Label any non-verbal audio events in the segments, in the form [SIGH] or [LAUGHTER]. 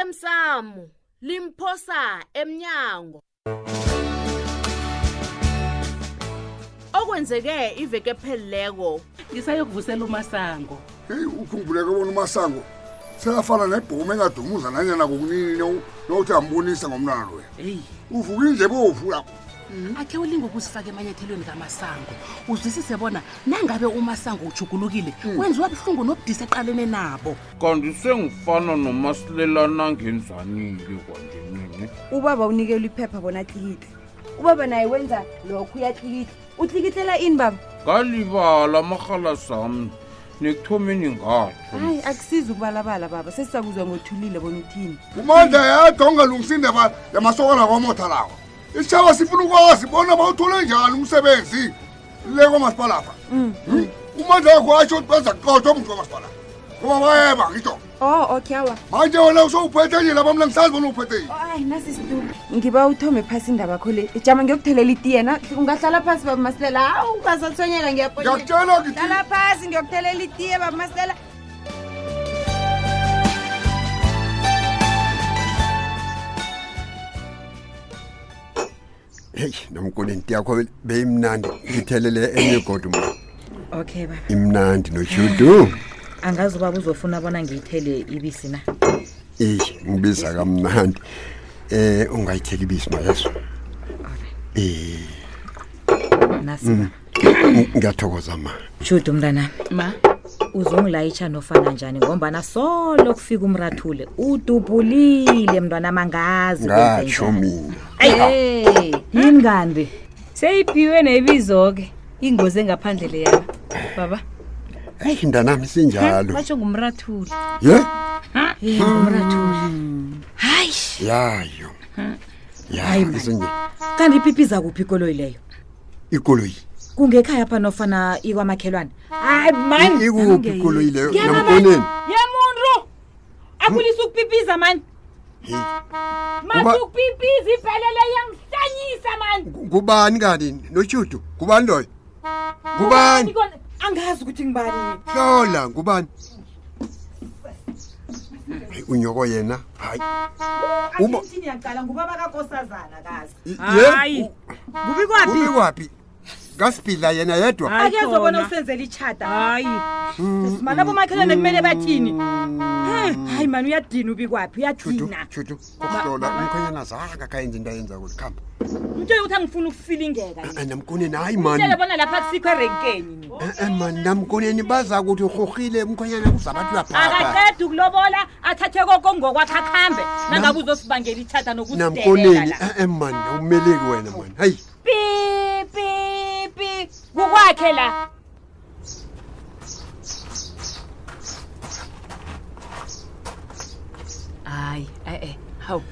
osemsamo limphosa emnyango okwenzeke iveke phelileko ngisayokuvusela umasango heyi ukhumbuleke bona umasango sekafana nebhomu engadumuza nanyana kokunini no- nokuthi ambonise ngomntwana loya heyi uvuke indlebovu lapho Hmm? akhe ulinga ukuzifaka emanyathelweni kamasango uzwisise bona nangabe umasango ujugulukile wenziwa buhlungu nobudisa eqalene nabo kanti sengifana nomasilelana ngenzanile kwanje mini ubaba unikelwa iphepha bona atlikitle ubaba naye wenza lokho uyatlikitla utlikitlela ini baba ngalibala amarhala sami nekuthomeni ngatsho hayi akusizi ukubalabala baba sesisakuzwa ngothulile bona uthini umandla yadwa ungalungisa indaba yamasokana kwamotha lawa isitshaba sifuna ukwazi bona bawuthole njani umsebenzi le kwamasipalapha Hmm? umandla wakho atsho ukuthi baza kuqothwa umntu kwamasipalapha ngoba bayeba ngitsho oh okay awa manje wena usowuphethe nje laba mna ngisazi bona uphethe Oh, yini hayi nasisitu ngiba uthome phasi indaba kho le ijama ngiyokuthelela iti yena ungahlala phasi baba masilela hawu ungasathonyeka ngiyahlala ngiyakutshela ngithi phasi ngiyokuthelela itiye baba masilela heyi nomkolenti yakho beyimnandi ngithelele enye igodi ma okay baba imnandi noshudu angazi ubaba uzofuna bona ngiyithele ibisi na eyi ngibiza kamnandi um ungayitheli ibisi mayezo um nasi baba Eh. Mm. ngiyathokoza ma shudu mntanami ma uzongilayitsha nofana njani ngombana solo kufika umrathule udubulile mntwana mangazi ngatsho mina hey yini kanti seyiphiwe nebizo-ke ingozi engaphandle leyaba baba eyi mntanami sinjalo batsho ngumrathuli ye Mm. umrathule yayo Hayi, ma. yasinye kanti ipipiza kuphi ikoloyi leyo ikoloyi kungekhaya pha nofana ikwamakhelwane hayi I- ikuphi ikoloyi leyo namkoneni yemuntu akulisa ukupipiza mani Hey, mathi Uba- ukupipiza iphelele yangihlanyisa mani kubani kani noshudu kubani loyo kubani angazi ukuthi ngibani hlola ngubani Hayi, unyoko yena hayi Uma- yaqala ngubaba kakosazana kazi i- Hayi. ye, u- kubikwaphi ubikwaphi ngasibhidla yena yedwa akezobona usenzela itshata hayi mani abomakhelwane kumele bathini hayi mani uyadina ubikwaphi shudu uyadina shudu ukuhlola umkhwenyana zange akayenza into ayenza kulikhamba mtshele ukuthi angifuni ukusilingeka Ah, namkoneni hayi tshele mani bona lapha kusikho erenkeni Eh, eh, mani namkoneni baza kuthi urhurhile umkhwenyana kuzabathi uyabhaba akaqeda ukulobola athathe koko ngokwakho akhambe nangabe uzosibangela itshata namkoneni e-e mani Eh, awumeleki wena mani hayi pipipi kukwakhe la hayi e-e hawu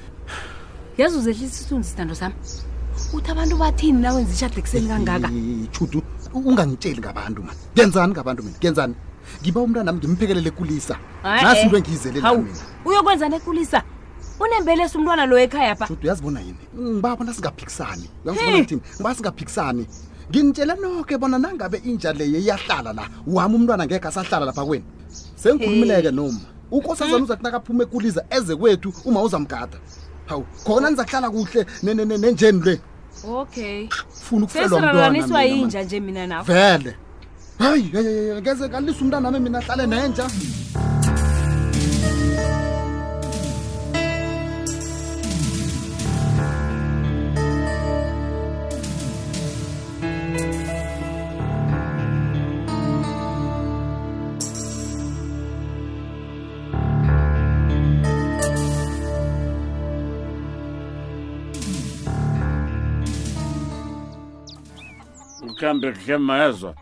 yazi uzehlisa isithunzi sithando sami uthi abantu bathini nawenza ishade ekuseni [LAUGHS] kangaka chudu ungangitsheli ngabantu mani ngenzani ngabantu mina ngenzani ngiba umntanami ngimphekelele kulisa Ah, nasi eh. into engiyizele hawu mina uyokwenzani ekulisa unembelesi umntwana lo ekhaya Hmm. pha chudu uyazibona yini ngiba bona singaphikisani uyangizibona ngithini ngiba singaphikisani nginitshele noke bona nangabe inja leyo iyahlala la wami umntwana ngekhe asahlala lapha kwenu sengikhulumileke noma unkosazana uzathi nakaphume ekuliza eze kwethu uma uzamgada hawu khona nizakuhlala kuhle ne- ne- ne- nenjeni le okay funa ukufelwa sesiralaniswa mina, man. yinja nje mina nawe vele hayi hayi, hayi, hayi, ngeze kalisa umntanami mina hlale nenja mhlawumbe kuhle mayezo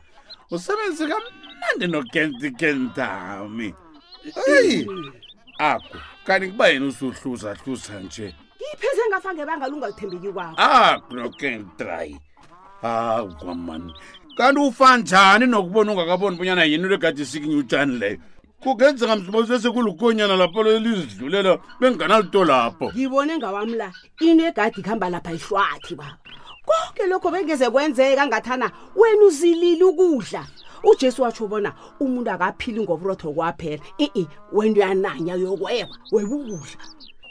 usebenzi kamnandi nokentikentami eyi aku kanti kuba yena usuhluzahluza nje ipheze ngafange bangalunga uthembeki kwakho aku nokentry hawu kwamani kanti ufa njani nokubona ungakaboni bunyana yini legadi sikinye utshani leyo kungenzeka mziba sesekulukonyana lapho lelizidlulela benginganalito lapho ngibone ngawamla into egadi kuhamba lapha ihlwathi baba konke lokho bengeze kwenzeka ngathana wena uzilile ukudla ujesu watsho bona umuntu akaphili ngoburotho kwaphela i-i wento yananya yokweba weba ukudla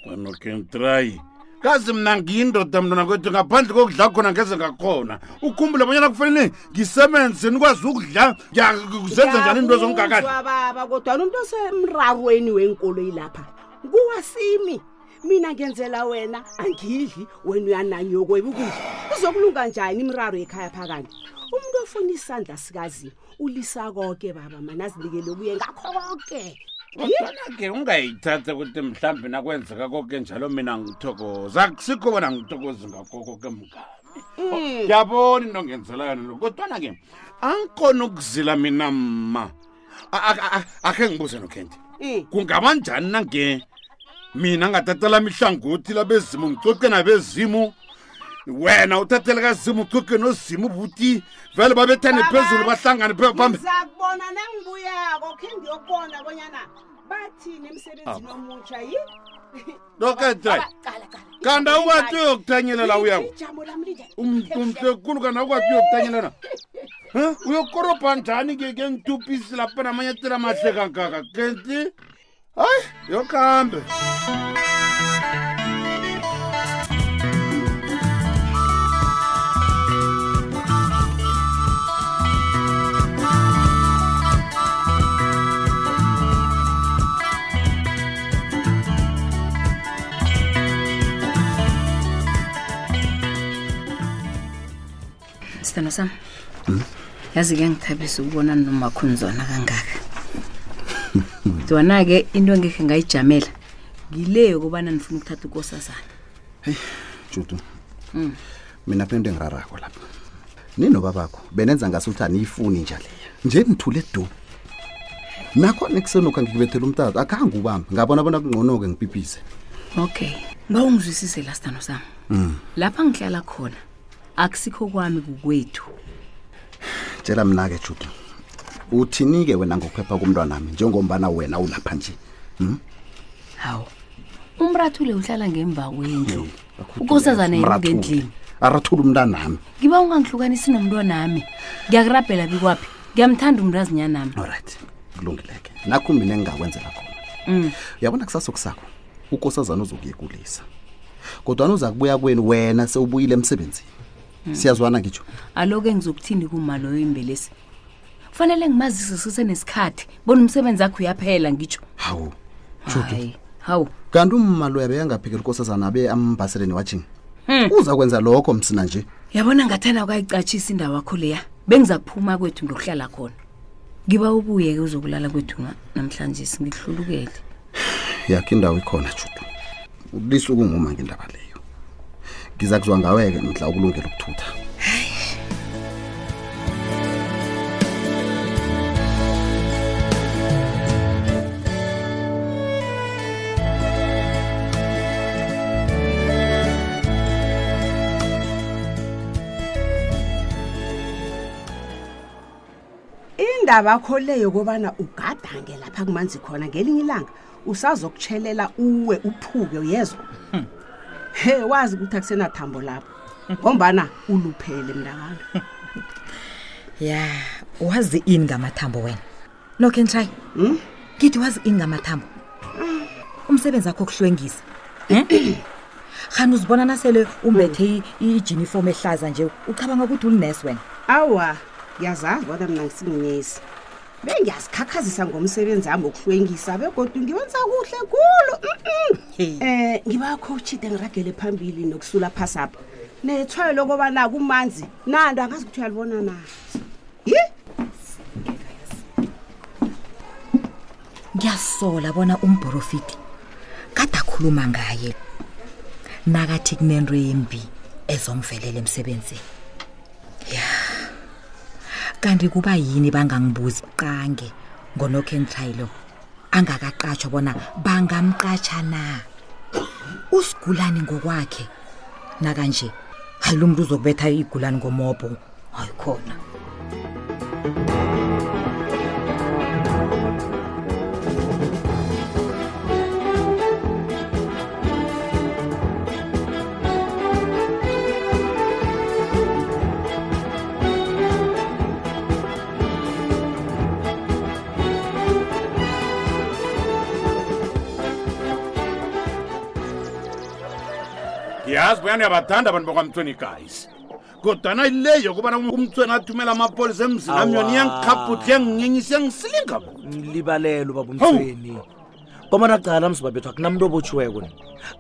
kwanokemtrayi kazi mna ngiyindoda mntwana kwethu ngaphandle kokudla khona ngeze ngakhona ukhumbule bonyana kufanele ngisebenze nikwazi ukudla ngiya- zenze njani into ezongikakade Ngiyakuzwa, baba kodwana umuntu osemrarweni wenkoloyi lapha kuwasimi mina ngenzela wena angidli wena uyananye yokweba ukudla izokulunga njani imraro ekhaya phakani umuntu ofuna isandla sikazi ulisa koke baba manazinikele kuye ngakho konke kodwana-ke ungayithatha ukuthi mhlawumbi nakwenzeka koke njalo mina ngithokoza akusikho bona ngithokozi ngakho koke mngami ngiyabona into ngenzela yona lo kodwana-ke angikhona ukuzila mina mma A- a- a- akhe ngibuze nokhendi kungaba njani nange mina ngatathelami ihlangothi labezimu ngicoce nabezimu wena uthathele kazimu ucoce nozimu buti vele babethane phezulu bahlangane phe- phambi kubona nangibuyako khe ngiyokubona bonyana bathini emsebenzini omutsha yini doketray kanti awukwathi uyokuthanyelela uyako Um, umsekulu kanti awukwathi uyokuthanyelela Eh, uyokorobha njani ke ngentupisi lapha namanyathela amahle kangaka kenti hayi yokuhambe sithando sam yazi ke ngithabisa ukubona nomakhunzwana kangaka zona-ke into engekhe ngayijamela ngile yokubana nifuna ukuthatha ukosazana judu Mm. mina phela into engirarakho lapha ninobabakho benenza ngasuthi aniyifuni nja leyo nje nithule du nakhona ekusenokha ngikubethela umtato akhange ubambe ngabona bona kungcono-ke ngibhibhise okay ngawungizwisisela sithando sam Mm. lapha ngihlala khona akusikho kwami kukwethu tshela mna-ke judu uthini-ke wena ngokuphepha komntwanami njengombana wena ulapha nje Hmm? hawu umrathule uhlala ngemva kwendlu Akhuthi ukosazana uyazi, yena mrathule. endlini arathula umntanami ngiba ungangihlukanisi nomntwanami ngiyakurabhela bikwaphi ngiyamthanda umntazinyanami olright kulungileke nakho mina engingakwenzela khona mm. uyabona kusasokusakho ukosazana uzokuyegulisa kodwana uza kubuya kwenu wena sewubuyile emsebenzini siyazwana ngitsho aloke ngizokuthini kuma loyo imbelesi kufanele ngimazise sisenesikhathi bona umsebenzi akho uyaphela ngitsho hawu hayi hawu kanti ummalo yabe yangaphekela ukosazana abe ambhaseleni watshini uza kwenza lokho msina nje yabona ngathana ukayicatshisa indawo akho leya bengiza kuphuma kwethu ngiyokuhlala khona ngiba ubuye-ke uzokulala kwethu nga- namhlanje singihlulukele yakho indawo ikhona judu ulisuku nguma ngendaba leyo ngiza kuzwa ngawe-ke mhla ukulungela ukuthutha indaba kho le yokubana ugadange lapha kumanzi khona ngelinye ilanga usazokutshelela uwe uphuke uyezwa he wazi ukuthi akusenathambo lapho ngombana uluphele mntakami ya wazi ini ngamathambo wena nokhe ntshayi ngithi wazi ini ngamathambo umsebenzi wakho kuhlwengisa em hani uzibona nasele umbethe i- ijinifomu ehlaza nje ucabanga ukuthi ulinesi wena awa ngiyazazi kodwa mina ngisinginesi bengiyazikhakhazisa ngomsebenzi wami wokuhlwengisa begodwa ngiwenza kuhle khulu um ngibakho utshide ngiragele phambili nokusula phasi apha nethwayo lokobana kumanzi nando angazi ukuthi uyalibona na yi ngiyasola bona umprofiti kade akhuluma ngaye nakathi kunento embi ezomvelela emsebenzini ya kanti kuba yini bangangibuzi qange ngonokhentrayilo angakaqatshwa bona bangamqatsha na usigulani ngokwakhe nakanje halo mntu uzokubetha igulani ngomobho hayi khona yazi bonyana uyabathanda abantu bakwamthweni guys kodwana le yokubana umthweni athumela amapolisa emzini am yona Awa. iyangikhaphuthi iyanginyenyisa iyangisilinga bo nilibalelo babumthweni kwamana cala mzibabethwa kunamntu obotshiweko ni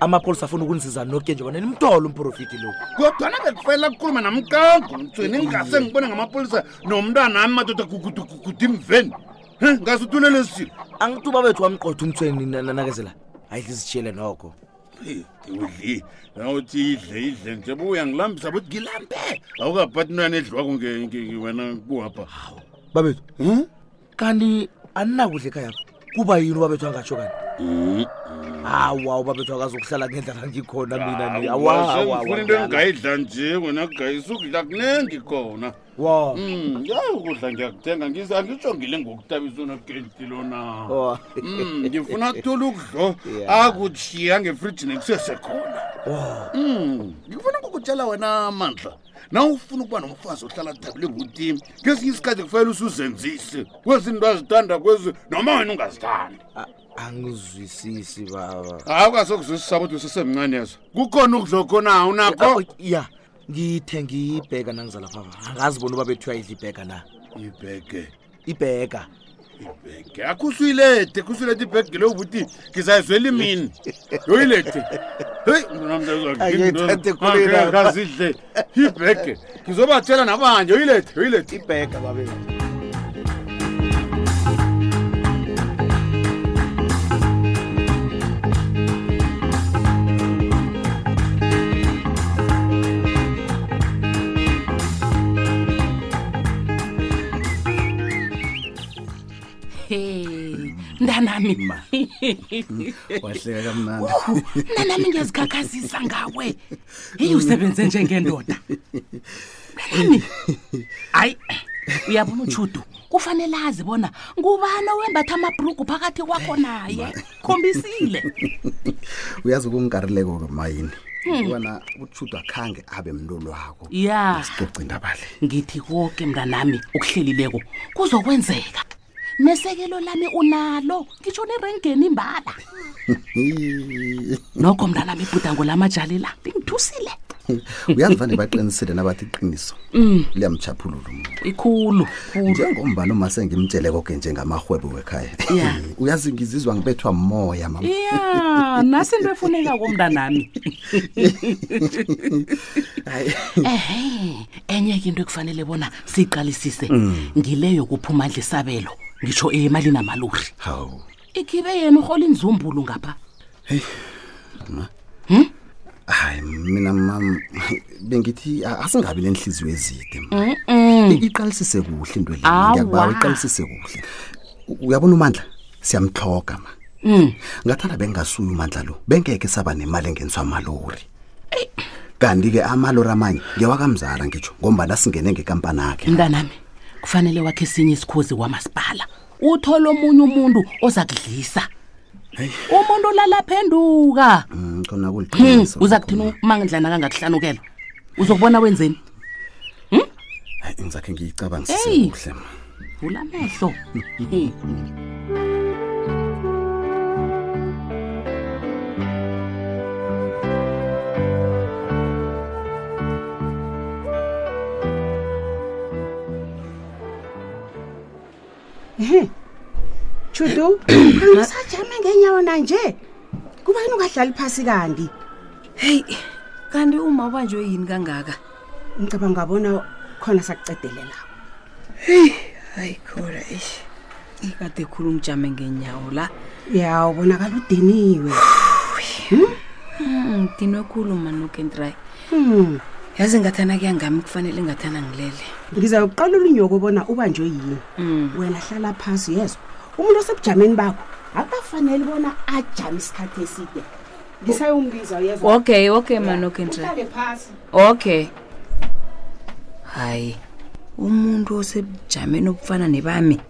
amapolisa afuna ukunisiza noke nje bona nimtolo umprofiti lo kodwana bekufanele kukhuluma namkango mthweni ngingase ngibone ngamapolisa nomntwana ami madoda gugudugugudu imveni He, ngase uthulele silo angituba bethu wamqotha umthweni na- na- nakezela hayi lizitshiyele noko udli nawuthi idle idle nje buya ngilambisa buthi ngilambe awukaphathi mntwana edliwako nge- nge- nge- wena kuhapha babethu kanti aninakudla ekhaya kuba yini ubabethu angatsho kanti awa ubabethu akazukuhlala ngendlela ngikhona mina ni awasengifuna into awaawaa engingayidla nje wena gayisa ukudla kunengi khona wa Mm, ya ukudla ngiyakuthenga Ngiz- angitsho ngile ngokutabisa unokentilo na Oh. Mm, [LAUGHS] [LAUGHS] ngifuna thola ukudlo akutshiya ngefrijini kusesekhona Mm, ngifuna ukukutshela wena mandla na ufuna ukuba nomfazi ohlala thabile nguti ngesinye isikhathi kufanele usuzenzise kwezinto azithanda kwezi noma wena ungazithandi angizwisisi baba awukasokuzwisisa ukuthi usesemncane yezo kukhona ukudla khona unakho ya ngithe ngiyibheka nangizalaphaba angazi bona ubabethu uyayidla ibheka na ibheke ibheka ibheke akho usuyilete kho usuyilete ibhege leyo ukuthi ngizayizwela imini yoyilete heyi Angiyithandi Ah, khulu yena. ngazidle ibhege ngizobatshela nabanje yoyilete yoyilete ibhega babe he mntanami wahleka kamnandi Wu, mntanami ngiyazikhakhazisa ngawe heyi usebenze njengendoda mntanami hayi uyabona utshudu kufanele azi bona ngubani owembatha amabhrugu phakathi kwakho naye khombisile uyazi ukungigarileko-ke mayini Hmm. ubana utshudo akhange abe mntu lwako ya cocindabale ngithi konke mntanami okuhlelileko kuzokwenzeka nesekelo lami unalo ngitsho nerengeni imbala nokho mntanami ibhudango lamajali la lingithusile uyazi vane baqinisile nabathi iqiniso Mm. liyamchaphulula umuntu ikhulu njengombani uma sengimtshele koke njengamarhwebo wekhaya Ya. uyazi ngizizwa ngibethwa moya mama ya nasi into efuneka komntanami ehe enye ke into ekufanele bona siyiqalisise Mm. ngileyo kuphuma ndla isabelo ngitsho eyemalini amalori hawu ikhibe yena urhola inzumbulu ngapha hayi mina mam bengithi a- asingabi nenhliziyo ezide Mm-mm. I- iqalisise kuhle into le Awa. ngiyakubawa iqalisise kuhle U- uyabona umandla siyamtloga ma Mm. ngathanda bengingasuyi umandla lo bengeke saba nemali engeniswa amalori kanti-ke amalori amanye ngewakamzala ngitsho ngombana singene ngekampani akhe mntanami kufanele wakhe esinye isikhozi kwamasipala uthole omunye umuntu oza kudlisa umuntu lalaphenduka Mm, khona Hmm, kuliqiniso uza kuthina umangindlana kangakuhlanukela uzokubona wenzeni Hmm? Hayi, ngizakhe ngiyicabangisise eyi kuhle ma ulamehlo ehe chudu angisajame ngenyawo nanje kubayini ungadlali phasi kanti heyi kanti uma ubanjwe yini kangaka ngicabanga ngabona khona sakucedelela heyi hayi khona eish ikade khulu ngijame ngenyawo la ya ubonakala udiniwe Mm, ngidinwe khulu manukentry Hmm. yazi ngathana kuyangami kufanele ngathana ngilele ngizawuqalela unyoko bona ubanjwe yini wena hlala phasi yezo umuntu osebujameni bakho akafanele bona ajame isikhathi eside ngisayombiza yezwa okay okay manukentry Uhlale phasi okay hayi umuntu osebujameni obufana nebami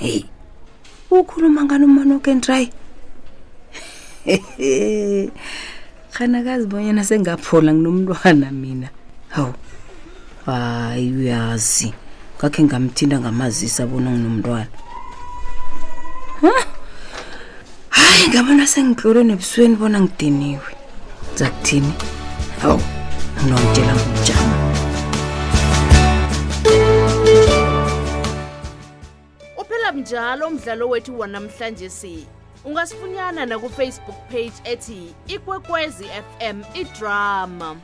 heyi ukhuluma ngani umanukentry [LAUGHS] khanakazi bonyana sengaphola nginomntwana mina hawu hayi uyazi ngakhe ngamthinda ngamazisa bona nginomntwana hayi ngabona sengitlole nebusweni bona ngidiniwe zakuthini hawu nginomtshela ngomjama uphela mnjalo umdlalo wethu wanamhlanje si ungasifunyana nakufacebook page ethi ikwekwezi fm idrama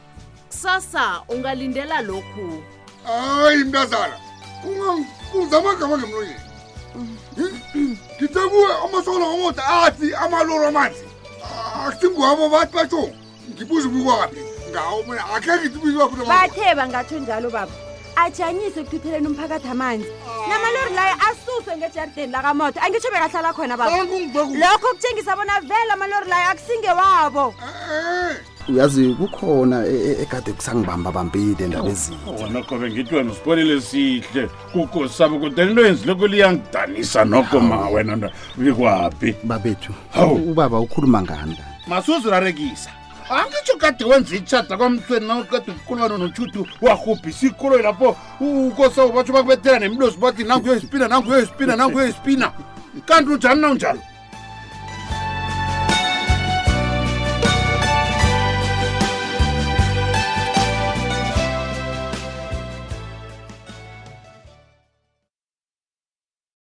kusasa ungalindela lokhu hayi mntazana kungakuza amagama ngemlonyeni ngithe kuwe amasola omoda athi amaloro amanzi akusingwabo Ah, bathi batsho ngibuza ubukwaphi ngawo mina akhe ngithi ubizwa khona bathe bangatsho njalo baba ajanyise ekuthutheleni umphakathi amanzi namalori layo asuswe ngejardeni lakamoto angitsho bekahlala khona baba lokho kutshengisa bona vele amalori layo akusingewabo uyazi kukhona e- e- egade kusangibamba bambile ndaba ezinye wona kobe ngithi wena usibonile sihle kukosabo kodwa into yenzileko liyangidanisa noko ma wena nto bikwaphi babethu Hawu. ubaba ukhuluma ngani la? masuzirarekisa angitsho kade wenza itshata kwamhlweni na kade ukulwana notshutu warhubhisa ikoloyi lapho ukosawo batsho bakubethela nemilosi bathi nanguyoyispina nanguyoyispina nanguyoyispina kanti unjani nawunjalo